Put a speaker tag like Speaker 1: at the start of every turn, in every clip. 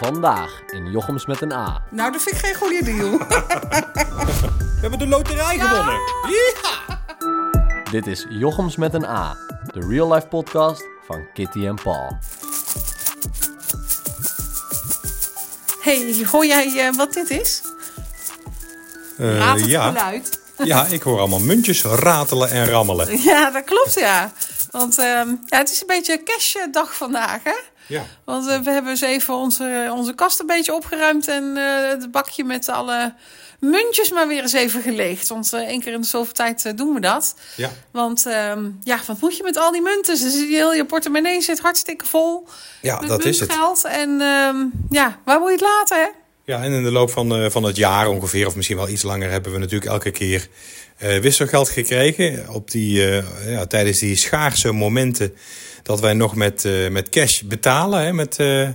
Speaker 1: Vandaag in Jochems met een A.
Speaker 2: Nou, dat vind ik geen goede deal.
Speaker 3: We hebben de loterij gewonnen.
Speaker 1: Dit is Jochems met een A, de real life podcast van Kitty en Paul.
Speaker 2: hey, hoor jij eh, wat dit is?
Speaker 3: Eh,
Speaker 2: Raad het
Speaker 3: ja.
Speaker 2: geluid.
Speaker 3: ja, ik hoor allemaal muntjes ratelen en rammelen.
Speaker 2: Ja, dat klopt, ja. Want ehm, ja, het is een beetje cashdag vandaag, hè?
Speaker 3: Ja.
Speaker 2: Want eh, we hebben eens even onze, onze kast een beetje opgeruimd... en eh, het bakje met alle muntjes maar weer eens even geleegd. Want eh, één keer in de zoveel tijd eh, doen we dat.
Speaker 3: Ja.
Speaker 2: Want ehm, ja, wat moet je met al die munten? Dus heel je portemonnee zit hartstikke vol
Speaker 3: Ja,
Speaker 2: met
Speaker 3: dat is het.
Speaker 2: muntgeld. En ehm, ja, waar moet je het laten, hè?
Speaker 3: Ja, en in de loop van, eh, van het jaar ongeveer, of misschien wel iets langer, hebben we natuurlijk elke keer eh, wisselgeld gekregen. Op die, eh, ja, tijdens die schaarse momenten dat wij nog met, eh, met cash betalen, hè, met, eh,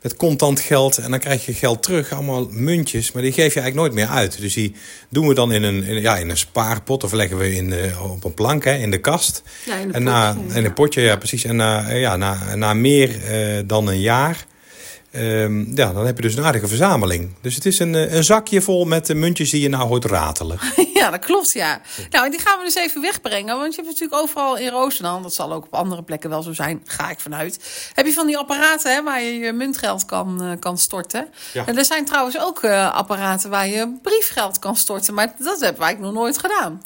Speaker 3: met contant geld. En dan krijg je geld terug, allemaal muntjes, maar die geef je eigenlijk nooit meer uit. Dus die doen we dan in een, in, ja, in een spaarpot of leggen we in, eh, op een plank hè, in de kast.
Speaker 2: Ja, in een
Speaker 3: en na,
Speaker 2: potje,
Speaker 3: in
Speaker 2: ja.
Speaker 3: een potje, ja precies. En na, eh, ja, na, na meer eh, dan een jaar... Ehm, ja, dan heb je dus een aardige verzameling. Dus het is een, eh, een zakje vol met de muntjes die je nou hoort ratelen.
Speaker 2: Ja, dat klopt, ja. Nou, en die gaan we dus even wegbrengen. Want je hebt natuurlijk overal in Roosendaal, dat zal ook op andere plekken wel zo zijn, ga ik vanuit. Heb je van die apparaten hè, waar je je muntgeld kan, eh, kan storten.
Speaker 3: Ja.
Speaker 2: En er zijn trouwens ook eh, apparaten waar je briefgeld kan storten. Maar dat hebben wij nog nooit gedaan.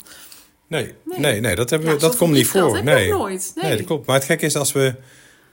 Speaker 3: Nee,
Speaker 2: Nee.
Speaker 3: nee. nee, dat, hebben,
Speaker 2: Ja,
Speaker 3: we- dat
Speaker 2: zo'n
Speaker 3: komt niet
Speaker 2: briefgeld
Speaker 3: voor.
Speaker 2: heb je
Speaker 3: nee.
Speaker 2: ook nooit. Nee.
Speaker 3: Nee. dat klopt. Maar het gekke is, als we,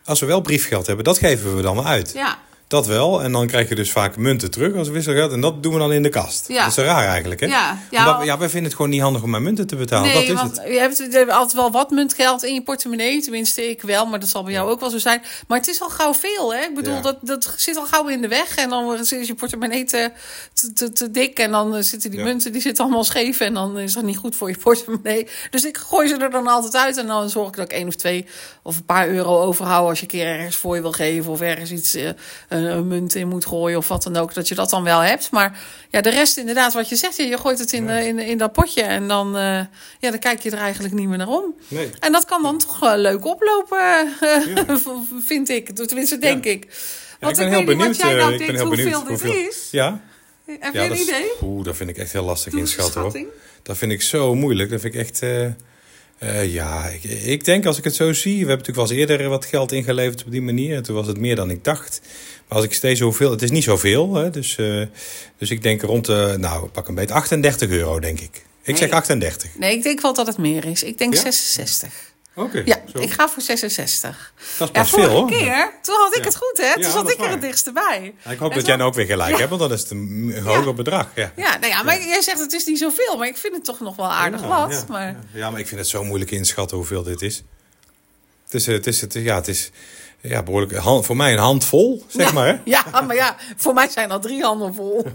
Speaker 3: als we wel briefgeld hebben, dat geven we dan wel uit.
Speaker 2: Ja.
Speaker 3: Dat wel. En dan krijg je dus vaak munten terug als wisselgeld. En dat doen we dan in de kast.
Speaker 2: Ja.
Speaker 3: Dat is raar eigenlijk, hè?
Speaker 2: Ja, ja,
Speaker 3: ja, Omdat,
Speaker 2: want-
Speaker 3: we- ja wij vinden het gewoon niet handig om aan munten te betalen. dat
Speaker 2: Nee,
Speaker 3: Nou, is
Speaker 2: want
Speaker 3: het.
Speaker 2: je hebt, je hebt altijd wel wat muntgeld in je portemonnee. Tenminste, ik wel, maar dat zal bij jou ook wel zo zijn. Maar het is al gauw veel, hè? Ik bedoel,
Speaker 3: Ja.
Speaker 2: dat, dat zit al gauw in de weg. En dan is je portemonnee te, te, te, te dik. En dan eh, zitten die
Speaker 3: Ja.
Speaker 2: munten, die zitten allemaal scheef. En dan is dat niet goed voor je portemonnee. Dus ik gooi ze er dan altijd uit. En dan zorg ik dat ik één of twee of een paar euro overhoud... als je een keer ergens voor je wil geven of ergens iets... eh, een, een munt in moet gooien of wat dan ook. Dat je dat dan wel hebt. Maar ja, de rest inderdaad, wat je zegt, ja, je gooit het in, eh, in, in dat potje. En dan, eh, ja, dan kijk je er eigenlijk niet meer naar om.
Speaker 3: Nee.
Speaker 2: En dat kan dan toch eh, leuk oplopen, eh, vind ik. Tenminste, denk
Speaker 3: Ja.
Speaker 2: ik.
Speaker 3: Ja,
Speaker 2: Want ik, weet niet wat jij
Speaker 3: eh,
Speaker 2: nou
Speaker 3: ik ben
Speaker 2: denkt
Speaker 3: heel
Speaker 2: hoeveel
Speaker 3: benieuwd
Speaker 2: dit
Speaker 3: hoeveel-
Speaker 2: is. Eh,
Speaker 3: Ja,
Speaker 2: Heb
Speaker 3: ja
Speaker 2: je een
Speaker 3: dat is-
Speaker 2: idee?
Speaker 3: Oeh, dat vind ik echt heel lastig
Speaker 2: Doe eens een
Speaker 3: inschatten, hoor.
Speaker 2: schatting.
Speaker 3: Dat vind ik zo moeilijk. Dat vind ik echt. eh, eh, ja, ik, ik denk als ik het zo zie. We hebben natuurlijk wel eens eerder wat geld ingeleverd op die manier. En toen was het meer dan ik dacht. Maar als ik steeds zoveel. Het is niet zoveel. Hè, dus, eh, dus ik denk rond. de, nou, pak een beetje 38 euro, denk ik. Ik zeg 38.
Speaker 2: Nee, ik denk wel dat het meer is. Ik denk
Speaker 3: Ja?
Speaker 2: 66.
Speaker 3: Oké.
Speaker 2: Ja, ik ga voor 66.
Speaker 3: Dat is
Speaker 2: Ja,
Speaker 3: best veel,
Speaker 2: vorige
Speaker 3: hoor.
Speaker 2: keer, toen had ik
Speaker 3: Ja.
Speaker 2: het goed, hè? Toen
Speaker 3: Ja,
Speaker 2: zat
Speaker 3: dat is
Speaker 2: ik er het
Speaker 3: waar.
Speaker 2: dichtst bij.
Speaker 3: Ja, ik hoop
Speaker 2: En
Speaker 3: dat jij
Speaker 2: toen-
Speaker 3: nou ook weer gelijk
Speaker 2: Ja.
Speaker 3: hebt, want dan is het een hoger
Speaker 2: Ja.
Speaker 3: bedrag. Ja.
Speaker 2: Ja, nou ja, maar jij zegt het is niet zoveel, maar ik vind het toch nog wel aardig
Speaker 3: Ja,
Speaker 2: wat.
Speaker 3: Ja,
Speaker 2: maar...
Speaker 3: ja. Ja, maar ik vind het zo moeilijk inschatten hoeveel dit is. Het is, eh, het is, het is- ja, het is ja, behoorlijk, hand- voor mij een handvol, zeg maar. Hè?
Speaker 2: Ja, maar ja, voor mij zijn al drie handen vol.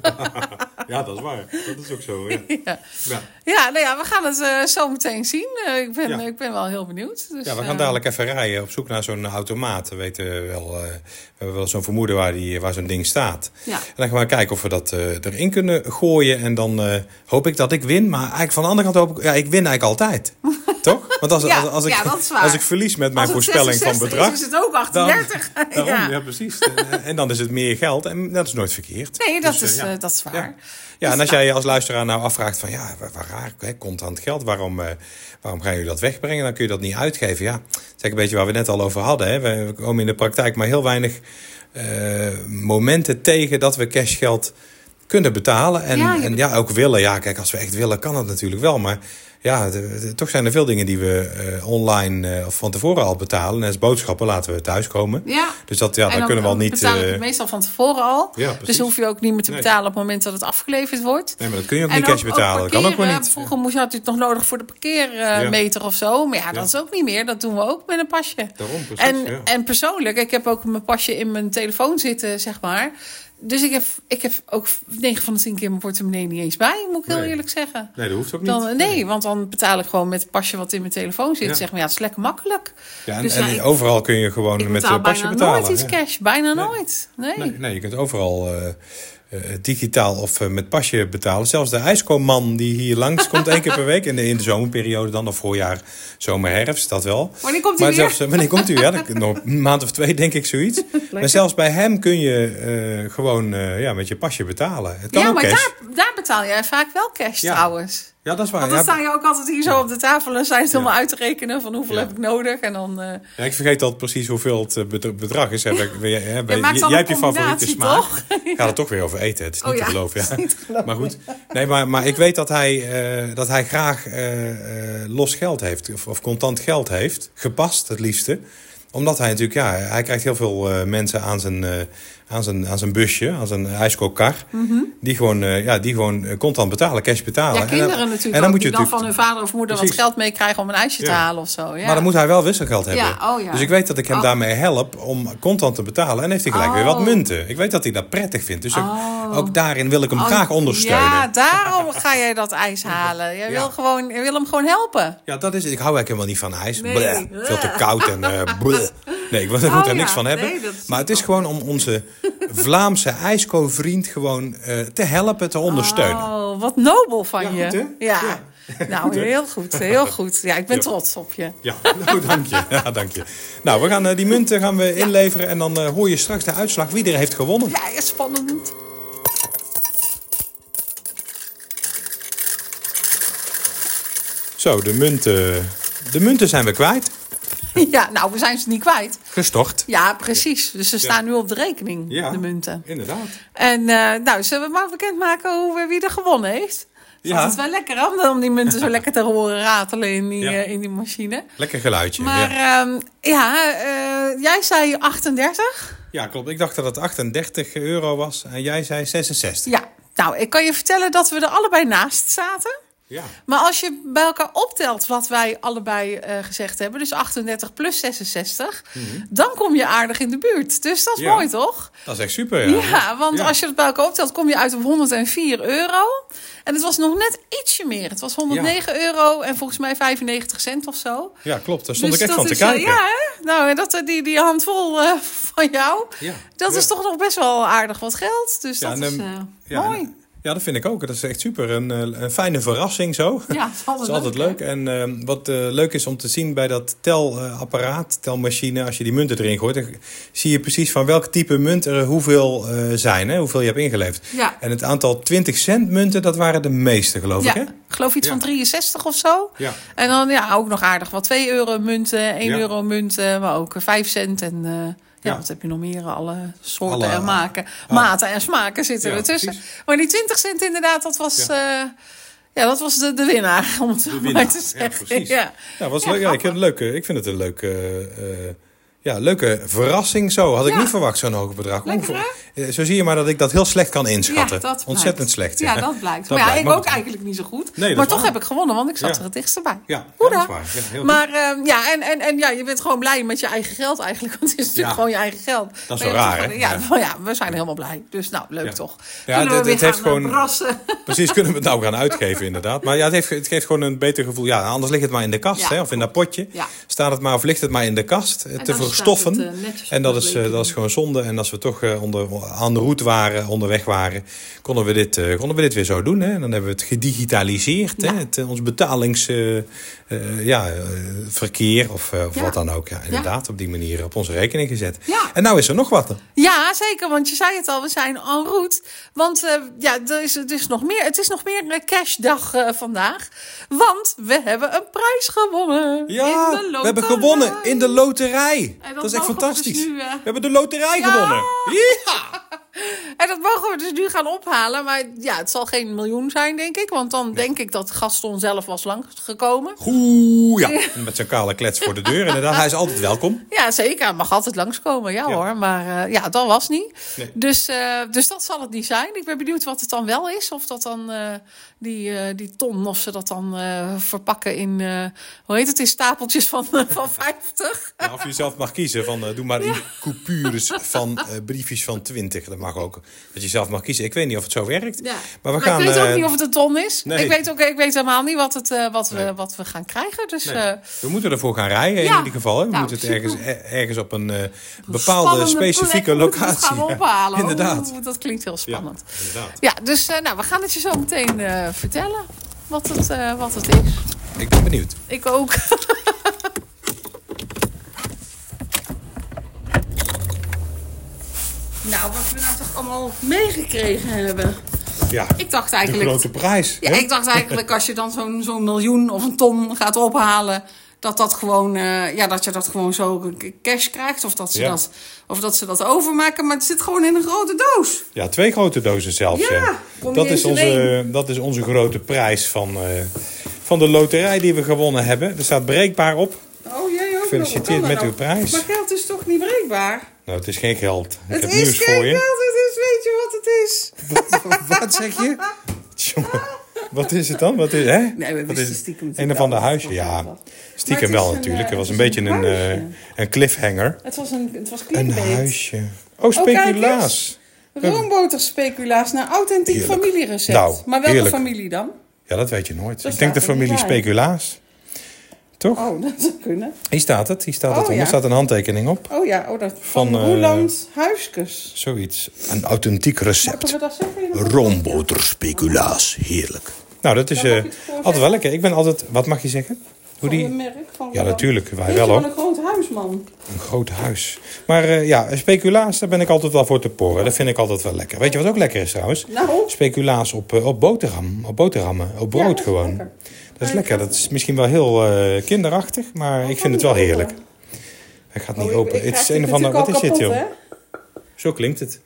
Speaker 3: Ja, dat is waar. Dat is ook zo. Ja,
Speaker 2: ja.
Speaker 3: ja.
Speaker 2: ja, nou ja, we gaan het eh, zo meteen zien. Eh, ik, ben,
Speaker 3: Ja.
Speaker 2: ik ben wel heel benieuwd. Dus,
Speaker 3: ja we
Speaker 2: eh,
Speaker 3: gaan dadelijk even rijden op zoek naar zo'n automaat. We, weten wel, eh, we hebben wel zo'n vermoeden waar, die, waar zo'n ding staat.
Speaker 2: Ja.
Speaker 3: En dan gaan we kijken of we dat eh, erin kunnen gooien. En dan eh, hoop ik dat ik win. Maar eigenlijk van de andere kant hoop ik... Ja, ik win eigenlijk altijd. Toch? Want als,
Speaker 2: Ja,
Speaker 3: als, als, ik,
Speaker 2: ja, dat is waar.
Speaker 3: als ik verlies met mijn
Speaker 2: Als het
Speaker 3: voorspelling van
Speaker 2: 66
Speaker 3: bedrag...
Speaker 2: Is, is het ook 38.
Speaker 3: Dan- daarom,
Speaker 2: ja.
Speaker 3: ja. precies. En, en dan is het meer geld en dat is nooit verkeerd.
Speaker 2: Nee, dat,
Speaker 3: Dus,
Speaker 2: is,
Speaker 3: eh,
Speaker 2: eh, dat is waar.
Speaker 3: ja. Ja, en
Speaker 2: Dus
Speaker 3: als jij je als luisteraar nou afvraagt van ja, waar, waar raar, hè, contant geld, waarom, eh, waarom gaan jullie dat wegbrengen? Dan kun je dat niet uitgeven. Ja, dat is eigenlijk een beetje waar we net al over hadden. Hè. We, we komen in de praktijk maar heel weinig eh, momenten tegen dat we cashgeld kunnen betalen. En
Speaker 2: Ja,
Speaker 3: ja,
Speaker 2: je
Speaker 3: en, ja, ook willen. Ja, kijk, als we echt willen kan dat natuurlijk wel. Maar ja, de- de- toch zijn er veel dingen die we eh, online eh, of van tevoren al betalen. En als boodschappen laten we thuiskomen.
Speaker 2: Ja.
Speaker 3: Dus dat, ja,
Speaker 2: En
Speaker 3: dan, kunnen we al niet...
Speaker 2: betaal ik
Speaker 3: eh,
Speaker 2: het meestal van tevoren al.
Speaker 3: Ja,
Speaker 2: dus
Speaker 3: precies.
Speaker 2: hoef je ook niet meer te
Speaker 3: Nee.
Speaker 2: betalen op het moment dat het afgeleverd wordt.
Speaker 3: Nee, maar dat kun je ook
Speaker 2: En
Speaker 3: niet cash betalen. Dat kan ook wel
Speaker 2: parkeren.
Speaker 3: niet.
Speaker 2: eh, Vroeger moest je had je het nog nodig voor de
Speaker 3: Ja.
Speaker 2: parkeermeter of zo. Maar ja, dat
Speaker 3: Ja.
Speaker 2: is ook niet meer. Dat doen we ook met een pasje.
Speaker 3: Daarom, precies,
Speaker 2: En,
Speaker 3: ja.
Speaker 2: en persoonlijk, ik heb ook mijn pasje in mijn telefoon zitten, zeg maar. Dus ik heb, ik heb ook 9 van de 10 keer mijn portemonnee niet eens bij, moet ik heel
Speaker 3: Nee.
Speaker 2: eerlijk zeggen.
Speaker 3: Nee, dat hoeft ook niet.
Speaker 2: Dan, nee, want dan betaal ik gewoon met het pasje wat in mijn telefoon zit.
Speaker 3: Ja.
Speaker 2: Zeg maar, ja, het is lekker makkelijk.
Speaker 3: Ja, en,
Speaker 2: Dus
Speaker 3: en
Speaker 2: ja, ik-
Speaker 3: overal kun je gewoon
Speaker 2: ik
Speaker 3: met
Speaker 2: betaal
Speaker 3: eh, pasje
Speaker 2: bijna
Speaker 3: betalen.
Speaker 2: nooit iets
Speaker 3: ja.
Speaker 2: cash. Bijna
Speaker 3: Nee.
Speaker 2: nooit. Nee.
Speaker 3: Nee, nee, je kunt overal eh, eh, digitaal of eh, met pasje betalen. Zelfs de ijskoopman die hier langs komt één keer per week. In de, in de zomerperiode dan, of voorjaar, zomer, herfst, dat wel.
Speaker 4: Wanneer komt u
Speaker 3: maar
Speaker 4: weer?
Speaker 3: zelfs, eh, Wanneer komt u? Ja, dan- nog een maand of twee denk ik zoiets. maar zelfs bij hem kun je eh, gewoon eh, ja, met je pasje betalen. Het kan
Speaker 2: ja,
Speaker 3: ook
Speaker 2: maar
Speaker 3: cash.
Speaker 2: daar, daar betaal jij vaak wel cash
Speaker 3: Ja.
Speaker 2: trouwens.
Speaker 3: Ja, dat is waar.
Speaker 2: Want dan
Speaker 3: Ja,
Speaker 2: sta je ook altijd hier zo op de tafel en zijn ze helemaal uit te rekenen van hoeveel
Speaker 3: Ja.
Speaker 2: heb ik nodig. En dan, eh,
Speaker 3: Ja, ik vergeet altijd precies hoeveel het eh, bedra- bedrag is. Hè, bij- bij- hè, bij-
Speaker 2: maakt
Speaker 3: j-
Speaker 2: dan
Speaker 3: jij
Speaker 2: een
Speaker 3: hebt je favoriete
Speaker 2: combinatie,
Speaker 3: smaak.
Speaker 2: toch?
Speaker 3: Gaat het toch weer over eten. Het is niet
Speaker 4: Oh
Speaker 3: te
Speaker 4: ja,
Speaker 3: geloven. Ja. maar goed. Nee, maar, maar ik weet dat hij, eh, dat hij graag eh, eh, los geld heeft. Of, of contant geld heeft. Gepast het liefste. Omdat hij natuurlijk, ja, hij krijgt heel veel eh, mensen aan zijn, eh, aan, zijn, aan zijn busje, aan zijn ijskookkar. Die gewoon, eh, ja, die gewoon eh, contant betalen, cash betalen.
Speaker 2: Mhm. ja,
Speaker 3: En dan-
Speaker 2: kinderen natuurlijk ook, die dan van hun vader of moeder
Speaker 3: Precies.
Speaker 2: wat geld meekrijgen om een ijsje te
Speaker 3: Ja.
Speaker 2: halen of zo. Ja.
Speaker 3: maar dan moet hij wel wisselgeld hebben.
Speaker 4: Ja, oh ja.
Speaker 3: Dus ik weet dat ik hem
Speaker 4: Oh.
Speaker 3: daarmee help om contant te betalen. En heeft hij gelijk weer wat
Speaker 4: Oh.
Speaker 3: munten. Ik weet dat hij dat prettig vindt. Dus ook, ook daarin wil ik
Speaker 4: Oh,
Speaker 3: hem graag ondersteunen.
Speaker 2: Oh, Ja,
Speaker 3: Ja.
Speaker 2: daarom ga jij dat ijs halen. Jij
Speaker 3: Ja.
Speaker 2: wil, gewoon, jij wil hem gewoon helpen.
Speaker 3: dat is het. Ik hou eigenlijk helemaal niet van ijs.
Speaker 4: Nee.
Speaker 3: Bleh. Veel te koud en eh bleh. Nee, ik wil ik
Speaker 4: Oh
Speaker 3: moet
Speaker 4: ja,
Speaker 3: er niks van
Speaker 4: nee,
Speaker 3: hebben.
Speaker 4: dat is
Speaker 3: maar het is gewoon om onze Vlaamse ijsko-vriend gewoon eh, te helpen, te ondersteunen.
Speaker 2: Oh, wat nobel van
Speaker 3: Ja,
Speaker 2: je.
Speaker 3: goed, hè?
Speaker 2: ja.
Speaker 3: Ja.
Speaker 2: Nou, heel goed, heel goed. Ja, ik ben
Speaker 3: Ja.
Speaker 2: trots op je.
Speaker 3: Ja, nou, dank je. Ja, dank je. Nou, we gaan eh, die munten gaan we inleveren. En dan eh, hoor je straks de uitslag wie er heeft gewonnen.
Speaker 2: Ja, ja, spannend.
Speaker 3: Zo, de munten, de munten zijn we kwijt.
Speaker 2: Ja, nou, we zijn ze niet kwijt.
Speaker 3: Gestort.
Speaker 2: Ja, precies. Dus ze staan nu op de rekening, de munten.
Speaker 3: Inderdaad.
Speaker 2: En eh, nou, zullen we maar bekendmaken hoe, eh, wie er gewonnen heeft?
Speaker 3: Ja.
Speaker 2: Ja. Het is wel lekker hè, om dan die munten zo lekker te horen ratelen in die,
Speaker 3: Ja.
Speaker 2: eh, in die machine.
Speaker 3: Lekker geluidje.
Speaker 2: Maar
Speaker 3: ja.
Speaker 2: ehm, ja, eh, jij zei 38.
Speaker 3: ja, klopt. Ik dacht dat het 38 euro was en jij zei 66.
Speaker 2: Ja, nou, ik kan je vertellen dat we er allebei naast zaten.
Speaker 3: Ja.
Speaker 2: Maar als je bij elkaar optelt wat wij allebei eh, gezegd hebben, dus 38 plus 66, dan kom je aardig in de buurt. Dus dat is
Speaker 3: Mhm. Ja.
Speaker 2: mooi, toch?
Speaker 3: Dat is echt super.
Speaker 2: Ja, want
Speaker 3: Ja.
Speaker 2: als je het bij elkaar optelt, kom je uit op 104 euro. En het was nog net ietsje meer. Het was 109 euro en volgens mij 95 cent of zo.
Speaker 3: Ja, klopt. Daar stond
Speaker 2: Dus
Speaker 3: ik echt
Speaker 2: dat
Speaker 3: van te
Speaker 2: is, eh,
Speaker 3: kijken.
Speaker 2: ja, hè? Nou, en dat, eh, die, die handvol eh, van jou,
Speaker 3: Ja.
Speaker 2: dat
Speaker 3: Ja.
Speaker 2: is toch nog best wel aardig wat geld. Dus
Speaker 3: Ja,
Speaker 2: dat
Speaker 3: en,
Speaker 2: is
Speaker 3: ehm,
Speaker 2: eh,
Speaker 3: ja,
Speaker 2: mooi.
Speaker 3: en- ja, dat vind ik ook. Dat is echt super. Een, eh, een fijne verrassing zo.
Speaker 2: Ja, het is
Speaker 3: Dat
Speaker 2: altijd,
Speaker 3: is altijd leuk. En ehm, wat eh, leuk is om te zien bij dat telapparaat, telmachine, als je die munten erin gooit, dan zie je precies van welk type munt er hoeveel eh, zijn, hè, hoeveel je hebt ingeleverd.
Speaker 4: Ja.
Speaker 3: En het aantal 20 cent munten, dat waren de meeste, geloof
Speaker 2: Ja,
Speaker 3: ik. Hè?
Speaker 2: ik geloof iets
Speaker 3: Ja.
Speaker 2: van 63 of zo.
Speaker 3: Ja.
Speaker 2: En dan ja, ook nog aardig wat 2 euro munten, 1
Speaker 3: Ja.
Speaker 2: euro munten, maar ook eh, 5 cent. En eh, ja,
Speaker 3: Ja.
Speaker 2: wat heb je nog meer? Alle soorten
Speaker 3: Alle- eh, ah.
Speaker 2: en maken. Maten en smaken zitten
Speaker 3: Ja,
Speaker 2: er tussen.
Speaker 3: precies.
Speaker 2: Maar die 20 cent inderdaad, dat was, ja. ja, dat was de, de winnaar, om het zo maar te zeggen. Ja.
Speaker 3: Ja, was leuk. Ja, ik, vind het leuk. eh, ik vind het een leuke, eh, eh, ja, leuke verrassing zo. Had ik
Speaker 4: Ja.
Speaker 3: niet verwacht, zo'n hoog bedrag.
Speaker 4: Lekker,
Speaker 3: Onver- eh, Zo zie je maar dat ik dat heel slecht kan inschatten.
Speaker 4: Ja, dat
Speaker 3: Ontzettend
Speaker 4: blijkt.
Speaker 3: slecht.
Speaker 4: Ja, dat blijkt.
Speaker 3: Dat
Speaker 4: maar ja,
Speaker 3: blijkt,
Speaker 4: ik
Speaker 3: maar
Speaker 4: ook
Speaker 3: goed.
Speaker 4: eigenlijk niet zo goed.
Speaker 3: Nee, dat
Speaker 2: maar
Speaker 3: is
Speaker 2: toch
Speaker 3: waar.
Speaker 2: heb ik gewonnen, want ik zat
Speaker 3: Ja.
Speaker 2: er het dichtst bij.
Speaker 3: Ja, ja,
Speaker 2: Hoera.
Speaker 3: dat is waar. Ja, heel goed.
Speaker 2: maar ehm, ja, en, en, en ja, je bent gewoon blij met je eigen geld eigenlijk. Want het is natuurlijk
Speaker 3: Ja.
Speaker 2: gewoon je eigen geld.
Speaker 3: wel
Speaker 2: Maar je
Speaker 3: raar,
Speaker 2: hebt-
Speaker 3: hè?
Speaker 2: Ja,
Speaker 3: Ja.
Speaker 2: maar ja, we zijn helemaal blij. Dus nou, leuk
Speaker 3: Ja.
Speaker 2: toch.
Speaker 3: Ja,
Speaker 4: Kunnen
Speaker 3: dit-
Speaker 4: we weer
Speaker 3: dit heeft
Speaker 4: gaan, eh,
Speaker 3: gewoon-
Speaker 4: brassen?
Speaker 3: Precies, kunnen we het nou gaan uitgeven inderdaad. Maar ja, het, heeft, het geeft gewoon een beter gevoel. Ja, anders ligt het maar in de kast
Speaker 4: Ja,
Speaker 3: hè, of in dat potje.
Speaker 4: Ja.
Speaker 3: Staat het maar of ligt het maar in de kast eh, te
Speaker 4: dan staat
Speaker 3: verstoffen.
Speaker 4: het, eh, netjes op
Speaker 3: en dat
Speaker 4: de
Speaker 3: is, eh,
Speaker 4: rekening.
Speaker 3: dat is gewoon zonde. En als we toch eh, onder, aan de route waren, onderweg waren, konden we dit, eh, konden we dit weer zo doen. Hè. En dan hebben we het gedigitaliseerd. Hè, het, eh, ons betalingsverkeer ja, eh, verkeer of, eh, of
Speaker 4: Ja.
Speaker 3: wat dan ook. Ja, inderdaad, op die manier op onze rekening gezet.
Speaker 4: Ja.
Speaker 3: En nou is er nog wat.
Speaker 2: Ja, zeker, want je zei het al, we zijn en route. Want eh, ja, er is, er is nog meer, het is nog meer een cashdag eh, vandaag. Want we hebben een prijs gewonnen.
Speaker 3: Ja,
Speaker 4: In de
Speaker 3: we hebben gewonnen in de loterij.
Speaker 4: En
Speaker 3: Dat,
Speaker 4: dat
Speaker 3: is echt
Speaker 4: mogen we dus
Speaker 3: fantastisch.
Speaker 4: nu, eh,
Speaker 3: We hebben de loterij
Speaker 2: Ja!
Speaker 3: gewonnen. Ja!
Speaker 2: En dat mogen we dus nu gaan ophalen. Maar ja, het zal geen miljoen zijn, denk ik. Want dan denk ik dat Gaston zelf was langgekomen.
Speaker 3: Oeh, ja. Met zijn kale klets voor de deur. Inderdaad, hij is altijd welkom.
Speaker 2: Ja, zeker. Hij mag altijd langskomen, ja,
Speaker 3: Ja.
Speaker 2: hoor. Maar eh, ja, dat was niet.
Speaker 3: Nee.
Speaker 2: Dus, eh, dus dat zal het niet zijn. Ik ben benieuwd wat het dan wel is. Of dat dan eh, die, eh, die ton, of ze dat dan eh, verpakken in, eh, hoe heet het, in stapeltjes van, eh, van 50.
Speaker 3: Ja, of je zelf mag kiezen van eh, doe maar in coupures van eh, briefjes van 20. Dat mag ook. dat je zelf mag kiezen. Ik weet niet of het zo werkt.
Speaker 2: Ja.
Speaker 3: Maar we
Speaker 2: Maar
Speaker 3: gaan.
Speaker 2: ik weet ook
Speaker 3: eh,
Speaker 2: niet of het een ton is.
Speaker 3: nee.
Speaker 2: Ik, weet ook, ik weet helemaal niet wat, het, eh, wat,
Speaker 3: Nee.
Speaker 2: we, wat we gaan krijgen. Dus
Speaker 3: Nee.
Speaker 2: eh,
Speaker 3: we moeten ervoor gaan rijden in
Speaker 2: Ja.
Speaker 3: ieder geval. Hè. We
Speaker 2: Nou,
Speaker 3: moeten het ergens, eh, ergens op een eh, bepaalde
Speaker 2: spannende
Speaker 3: specifieke
Speaker 2: plek moeten we het
Speaker 3: locatie.
Speaker 2: gaan ophalen.
Speaker 3: Inderdaad.
Speaker 2: Oeh, dat klinkt heel spannend.
Speaker 3: Ja, inderdaad.
Speaker 2: Ja, dus eh, nou, we gaan het je zo meteen eh, vertellen wat het, eh, wat het is.
Speaker 3: Ik ben benieuwd.
Speaker 2: Ik ook. nou, wat we nou toch allemaal meegekregen hebben.
Speaker 3: Ja,
Speaker 2: Ik dacht
Speaker 3: de
Speaker 2: eigenlijk...
Speaker 3: grote prijs.
Speaker 2: Ja,
Speaker 3: hè?
Speaker 2: ik dacht eigenlijk als je dan zo'n zo'n miljoen of een ton gaat ophalen, dat dat gewoon, eh, ja, dat je dat gewoon zo cash krijgt. Of dat, ze
Speaker 3: Ja.
Speaker 2: dat, of dat ze dat overmaken, maar het zit gewoon in een grote doos.
Speaker 3: Ja, twee grote dozen zelfs.
Speaker 2: Ja,
Speaker 3: hè.
Speaker 2: kom
Speaker 3: dat,
Speaker 2: niet
Speaker 3: is
Speaker 2: eens in
Speaker 3: onze, dat is onze grote prijs van, eh, van de loterij die we gewonnen hebben. Er staat breekbaar op.
Speaker 2: Oh jee, ook
Speaker 3: Gefeliciteerd
Speaker 2: nog. Wat kan
Speaker 3: met
Speaker 2: dat
Speaker 3: uw
Speaker 2: ook?
Speaker 3: prijs.
Speaker 2: Maar geld is toch niet breekbaar?
Speaker 3: Nou, het is geen geld. Ik
Speaker 2: het
Speaker 3: heb
Speaker 2: is
Speaker 3: nieuws
Speaker 2: geen
Speaker 3: voor je.
Speaker 2: geld, het is, weet je wat het is?
Speaker 3: Wat zeg je? Tjonge, wat is het dan? Wat is, hè?
Speaker 2: Nee, we
Speaker 3: wat
Speaker 2: wisten
Speaker 3: is
Speaker 2: stiekem
Speaker 3: Een
Speaker 2: natuurlijk
Speaker 3: of ander
Speaker 2: wel
Speaker 3: huisje,
Speaker 2: wat het
Speaker 3: ja.
Speaker 2: was. Maar
Speaker 3: Stiekem
Speaker 2: het is
Speaker 3: wel
Speaker 2: een,
Speaker 3: natuurlijk.
Speaker 2: eh,
Speaker 3: Het was een
Speaker 2: het is
Speaker 3: beetje
Speaker 2: een
Speaker 3: een, eh,
Speaker 2: huisje.
Speaker 3: een cliffhanger.
Speaker 2: Het was een, het was
Speaker 3: Een
Speaker 2: clickbait.
Speaker 3: huisje. Oh, speculaas.
Speaker 2: Roomboterspeculaas naar authentiek
Speaker 3: Heerlijk.
Speaker 2: familierecept.
Speaker 3: Nou,
Speaker 2: maar welke
Speaker 3: heerlijk.
Speaker 2: familie dan?
Speaker 3: Ja, dat weet je nooit.
Speaker 2: Dat
Speaker 3: Ik denk de
Speaker 2: staat er niet
Speaker 3: familie
Speaker 2: bij.
Speaker 3: speculaas. Toch?
Speaker 2: Oh, dat zou kunnen.
Speaker 3: Hier staat het. Hier staat het
Speaker 2: Oh,
Speaker 3: onder.
Speaker 2: ja.
Speaker 3: Er staat een handtekening op.
Speaker 2: Oh ja, oh, dat, van,
Speaker 3: Van, eh,
Speaker 2: Roeland Huiskes.
Speaker 3: Zoiets. Een authentiek
Speaker 2: Mogen
Speaker 3: recept.
Speaker 2: we dat zeggen? in de
Speaker 4: Roomboterspeculaas, heerlijk.
Speaker 3: Nou, dat is
Speaker 2: Dan mag
Speaker 3: eh,
Speaker 2: je het gewoon
Speaker 3: altijd wel lekker. Ik ben altijd... Wat mag je zeggen? Hoe
Speaker 2: Van een
Speaker 3: die...
Speaker 2: merk van
Speaker 3: Ja,
Speaker 2: Roeland.
Speaker 3: natuurlijk. Wij
Speaker 2: Weet
Speaker 3: wel,
Speaker 2: je
Speaker 3: hoor.
Speaker 2: een groot huisman.
Speaker 3: Een groot huis. Maar eh, ja, speculaas, daar ben ik altijd wel voor te porren. Dat vind ik altijd wel lekker. Weet je wat ook lekker is trouwens?
Speaker 2: Nou?
Speaker 3: Speculaas op, eh, op boterham, op boterhammen, op
Speaker 2: Ja,
Speaker 3: brood
Speaker 2: dat is
Speaker 3: gewoon.
Speaker 2: lekker.
Speaker 3: Dat is lekker. Dat is misschien wel heel eh, kinderachtig, maar ik vind het wel heerlijk. Hij gaat niet
Speaker 2: Oh, ik-
Speaker 3: open.
Speaker 2: ik
Speaker 3: het
Speaker 2: krijg
Speaker 3: is een of ander.
Speaker 2: natuurlijk
Speaker 3: Wat
Speaker 2: al
Speaker 3: is dit,
Speaker 2: kapot,
Speaker 3: joh?
Speaker 2: hè?
Speaker 3: Zo klinkt het.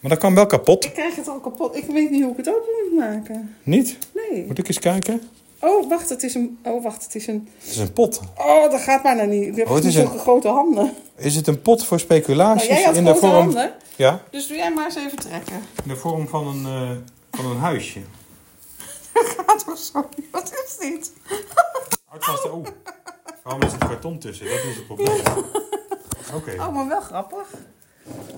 Speaker 3: Maar dat kan wel kapot,
Speaker 2: Ik krijg het al kapot. Ik weet niet hoe ik het open moet maken.
Speaker 3: niet?
Speaker 2: Nee.
Speaker 3: Moet ik eens kijken?
Speaker 2: Oh, wacht, het is een... Oh, wacht, het is een...
Speaker 3: Het is een pot.
Speaker 2: Oh, dat gaat bijna niet. Ik heb
Speaker 3: Oh, het
Speaker 2: niet
Speaker 3: is een-
Speaker 2: zulke grote handen.
Speaker 3: Is het een pot voor
Speaker 2: Nou,
Speaker 3: speculaties
Speaker 2: jij had
Speaker 3: in de
Speaker 2: grote
Speaker 3: vorm?
Speaker 2: handen.
Speaker 3: Ja,
Speaker 2: Dus doe jij maar eens even trekken.
Speaker 3: in de vorm van een, eh, van een huisje.
Speaker 2: Gaat toch zo? Wat is dit?
Speaker 3: Uitvasten, oeh. Waarom is het karton tussen? Dat is het probleem. Oké.
Speaker 2: Oh, maar wel grappig.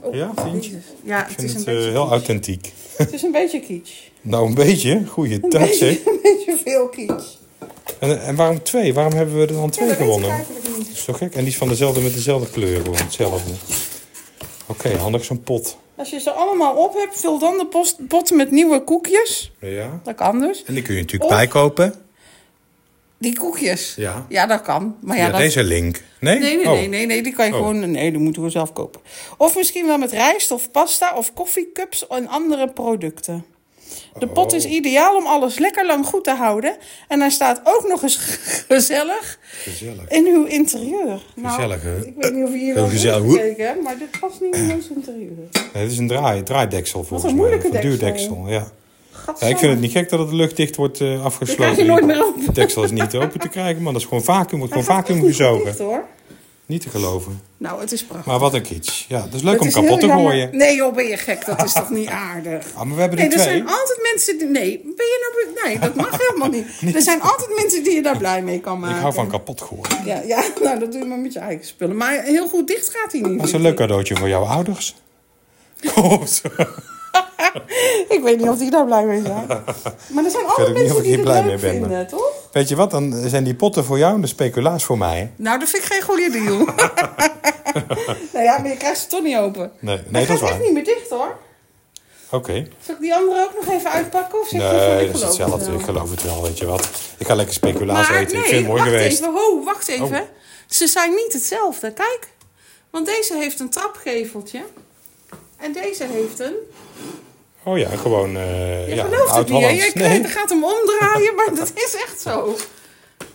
Speaker 2: Oh,
Speaker 3: Ja, vind je?
Speaker 2: jezus. Ja,
Speaker 3: Ik
Speaker 2: het
Speaker 3: vind
Speaker 2: is, een
Speaker 3: het eh,
Speaker 2: beetje,
Speaker 3: heel authentiek.
Speaker 2: het is een beetje kitsch.
Speaker 3: Nou, een beetje. Goeie dag, zeg.
Speaker 2: Een beetje veel kitsch.
Speaker 3: En, en waarom twee? Waarom hebben we er dan twee
Speaker 2: Ja, dat weet ik
Speaker 3: gewonnen?
Speaker 2: eigenlijk niet.
Speaker 3: Dat is toch gek? En die is van dezelfde met dezelfde kleur. Gewoon hetzelfde. Oké, handig zo'n pot.
Speaker 2: Als je ze allemaal op hebt, vul dan de post, potten met nieuwe koekjes.
Speaker 3: Ja.
Speaker 2: Dat kan dus.
Speaker 3: En die kun je natuurlijk
Speaker 2: Of-
Speaker 3: bijkopen.
Speaker 2: Die koekjes.
Speaker 3: Ja.
Speaker 2: Ja, dat kan. Maar ja,
Speaker 3: Ja,
Speaker 2: dat...
Speaker 3: deze link. Nee?
Speaker 2: Nee, nee,
Speaker 3: Oh.
Speaker 2: nee, nee, nee, die kan je
Speaker 3: Oh.
Speaker 2: gewoon... Nee, die moeten we zelf kopen. Of misschien wel met rijst of pasta of koffiecups en andere producten. De pot
Speaker 3: Oh.
Speaker 2: is ideaal om alles lekker lang goed te houden. En hij staat ook nog eens gezellig
Speaker 3: Gezellig.
Speaker 2: in uw interieur. Nou,
Speaker 3: Gezellig, hè?
Speaker 2: Ik weet niet of je hier
Speaker 3: Heel
Speaker 2: wel
Speaker 3: gezellig.
Speaker 2: hebt gekeken, hè, maar dit past niet in ons interieur.
Speaker 3: Nee, dit is een draai, draaideksel volgens mij.
Speaker 2: moeilijke
Speaker 3: Of een
Speaker 2: deksel.
Speaker 3: duwdeksel, ja. Ja, ik vind het niet gek dat het luchtdicht wordt eh, afgesloten.
Speaker 2: krijg je nooit meer open.
Speaker 3: Het deksel is niet open te krijgen, man. Dat is gewoon vacuüm. Wordt
Speaker 2: Hij
Speaker 3: gewoon
Speaker 2: gaat
Speaker 3: vacuüm
Speaker 2: echt niet goed
Speaker 3: gezogen.
Speaker 2: dicht, hoor.
Speaker 3: Niet te geloven.
Speaker 2: Nou, het is prachtig.
Speaker 3: Maar wat een kitsch. Ja, het is leuk
Speaker 2: Het
Speaker 3: om
Speaker 2: is
Speaker 3: kapot
Speaker 2: heel
Speaker 3: te
Speaker 2: jammer.
Speaker 3: gooien.
Speaker 2: Nee joh, ben je gek. Dat is toch niet aardig?
Speaker 3: Ah, maar we hebben er
Speaker 2: Nee, er
Speaker 3: twee.
Speaker 2: zijn altijd mensen die... Nee, ben je nou... be- Nee, dat mag helemaal niet. Er zijn altijd mensen die je daar blij mee kan maken.
Speaker 3: Ik hou van kapot gooien.
Speaker 2: Ja, ja, nou dat doe je maar met je eigen spullen. Maar heel goed dicht gaat hij niet.
Speaker 3: Dat is een
Speaker 2: vind
Speaker 3: leuk
Speaker 2: ik.
Speaker 3: cadeautje voor jouw ouders. Kom zo.
Speaker 2: Ik weet niet of die daar blij mee zijn. Maar er zijn
Speaker 3: ook
Speaker 2: altijd
Speaker 3: niet
Speaker 2: mensen
Speaker 3: of
Speaker 2: die
Speaker 3: ik hier
Speaker 2: het
Speaker 3: blij
Speaker 2: leuk
Speaker 3: mee ben,
Speaker 2: vinden,
Speaker 3: maar-
Speaker 2: toch?
Speaker 3: Weet je wat, dan zijn die potten voor jou en de speculaas voor mij.
Speaker 2: Nou, dat vind ik geen goede deal. nou ja, maar je krijgt ze toch niet open.
Speaker 3: Nee, nee,
Speaker 2: Hij
Speaker 3: dat is
Speaker 2: gaat
Speaker 3: waar.
Speaker 2: echt niet meer dicht hoor.
Speaker 3: Oké.
Speaker 2: Zal ik die andere ook nog even uitpakken? Of zeg je van,
Speaker 3: Nee,
Speaker 2: ik
Speaker 3: dat is
Speaker 2: geloof het
Speaker 3: hetzelfde.
Speaker 2: wel?
Speaker 3: Ik geloof het wel, weet je wat. Ik ga lekker speculaas
Speaker 2: Nou. Maar
Speaker 3: eten.
Speaker 2: nee,
Speaker 3: ik vind het mooi
Speaker 2: wacht
Speaker 3: geweest.
Speaker 2: even. Ho, wacht even.
Speaker 3: Oh.
Speaker 2: Ze zijn niet hetzelfde. Kijk. Want deze heeft een trapgeveltje. En deze heeft een...
Speaker 3: Oh ja, gewoon eh
Speaker 2: Je
Speaker 3: ja, een
Speaker 2: gelooft het niet, hè? Jij
Speaker 3: oud-Hollands.
Speaker 2: krijgt-
Speaker 3: Nee,
Speaker 2: gaat hem omdraaien, maar dat is echt zo.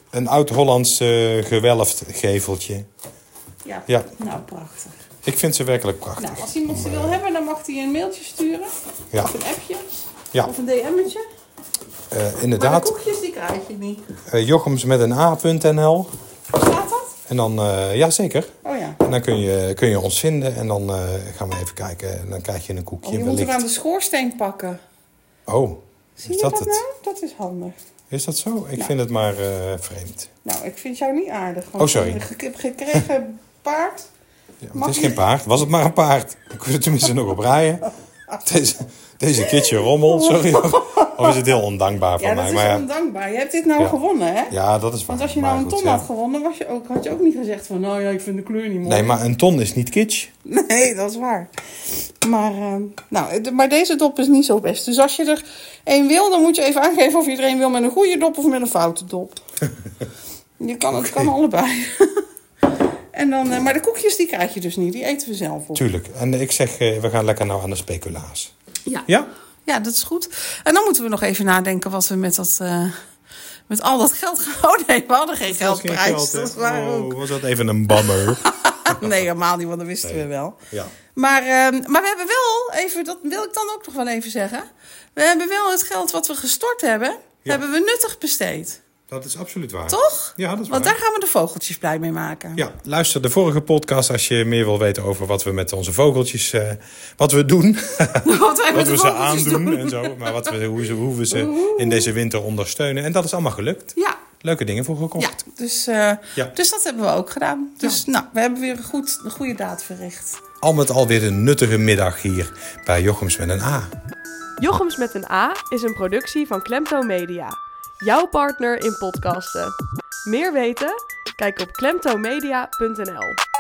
Speaker 3: een oud-Hollands eh, gewelfd geveltje.
Speaker 2: Ja.
Speaker 3: Ja.
Speaker 2: Nou, prachtig.
Speaker 3: Ik vind ze werkelijk prachtig.
Speaker 2: Nou, als iemand ze wil hebben, dan mag hij een mailtje sturen.
Speaker 3: Ja.
Speaker 2: Of een appje.
Speaker 3: Ja.
Speaker 2: Of een DM'tje.
Speaker 3: Eh,
Speaker 2: Maar de
Speaker 3: inderdaad,
Speaker 2: koekjes, die krijg je niet.
Speaker 3: eh, Jochems met een A.nl.
Speaker 2: Staat dat?
Speaker 3: En dan, eh ja zeker.
Speaker 2: Oh ja.
Speaker 3: En dan kun je, kun je ons vinden en dan eh, gaan we even kijken. En dan krijg je een
Speaker 2: Oh,
Speaker 3: koekje
Speaker 2: je moet
Speaker 3: wellicht.
Speaker 2: hem aan de schoorsteen pakken.
Speaker 3: Oh,
Speaker 2: Zie
Speaker 3: is
Speaker 2: je
Speaker 3: dat
Speaker 2: dat,
Speaker 3: het?
Speaker 2: nou? Dat is handig.
Speaker 3: Is dat zo? Ik vind het maar eh, vreemd.
Speaker 2: Nou, ik vind jou niet aardig. want
Speaker 3: Oh, sorry.
Speaker 2: Ik heb gekregen paard.
Speaker 3: het is geen paard. Was het maar een paard. Dan kunnen we tenminste nog op rijden. Deze, deze kitje rommel, sorry. Of is het heel ondankbaar van
Speaker 2: Ja, dat
Speaker 3: mij?
Speaker 2: is
Speaker 3: Maar ja,
Speaker 2: ondankbaar. Je hebt dit nou
Speaker 3: Ja.
Speaker 2: gewonnen, hè?
Speaker 3: ja, dat is waar.
Speaker 2: Want als je
Speaker 3: Maar
Speaker 2: nou een
Speaker 3: goed,
Speaker 2: ton
Speaker 3: ja.
Speaker 2: had gewonnen, was je ook, had je ook niet gezegd van... nou ja, ik vind de kleur niet mooi.
Speaker 3: Nee, maar een ton is niet kitsch.
Speaker 2: Nee, dat is waar. Maar, ehm, nou, de- maar deze dop is niet zo best. Dus als je er één wil, dan moet je even aangeven of je er één wil met een goede dop of met een foute dop. je kan, Het kan allebei. en dan, eh, maar de koekjes die krijg je dus niet. Die eten we zelf op.
Speaker 3: Tuurlijk. En ik zeg, eh, we gaan lekker nou aan de speculaas.
Speaker 2: Ja.
Speaker 3: Ja?
Speaker 2: ja, dat is goed. En dan moeten we nog even nadenken wat we met dat... eh, met al dat geld gaan... Oh nee, we hadden geen geldprijs. dat is waar ook.
Speaker 3: Oh, was dat even een bammer.
Speaker 2: nee, helemaal niet, want dat wisten we wel.
Speaker 3: Oh. Ja.
Speaker 2: Maar, ehm, maar we hebben wel, even, dat wil ik dan ook nog wel even zeggen. We hebben wel het geld wat we gestort hebben,
Speaker 3: Ja.
Speaker 2: hebben we nuttig besteed.
Speaker 3: Dat is absoluut waar.
Speaker 2: Toch?
Speaker 3: Ja, dat is
Speaker 2: Want
Speaker 3: waar.
Speaker 2: daar gaan we de vogeltjes blij mee maken.
Speaker 3: Ja, luister de vorige podcast als je meer wil weten over wat we met onze vogeltjes... eh, wat we doen,
Speaker 2: Wat wij met
Speaker 3: wat
Speaker 2: de
Speaker 3: we ze
Speaker 2: vogeltjes
Speaker 3: aandoen
Speaker 2: doen.
Speaker 3: en zo. Maar wat we, hoe, ze, hoe we ze in deze winter ondersteunen. En dat is allemaal gelukt.
Speaker 2: Ja,
Speaker 3: Leuke dingen voor
Speaker 2: ja.
Speaker 3: gekocht.
Speaker 2: Dus, eh,
Speaker 3: Ja.
Speaker 2: dus dat hebben we ook gedaan. Dus nou, we hebben weer een, goed, een goede daad verricht.
Speaker 3: Al met al weer een nuttige middag hier bij Jochems met een A.
Speaker 5: Jochems met een A is een productie van Klemto Media, jouw partner in podcasten. Meer weten? Kijk op klemtomedia.nl.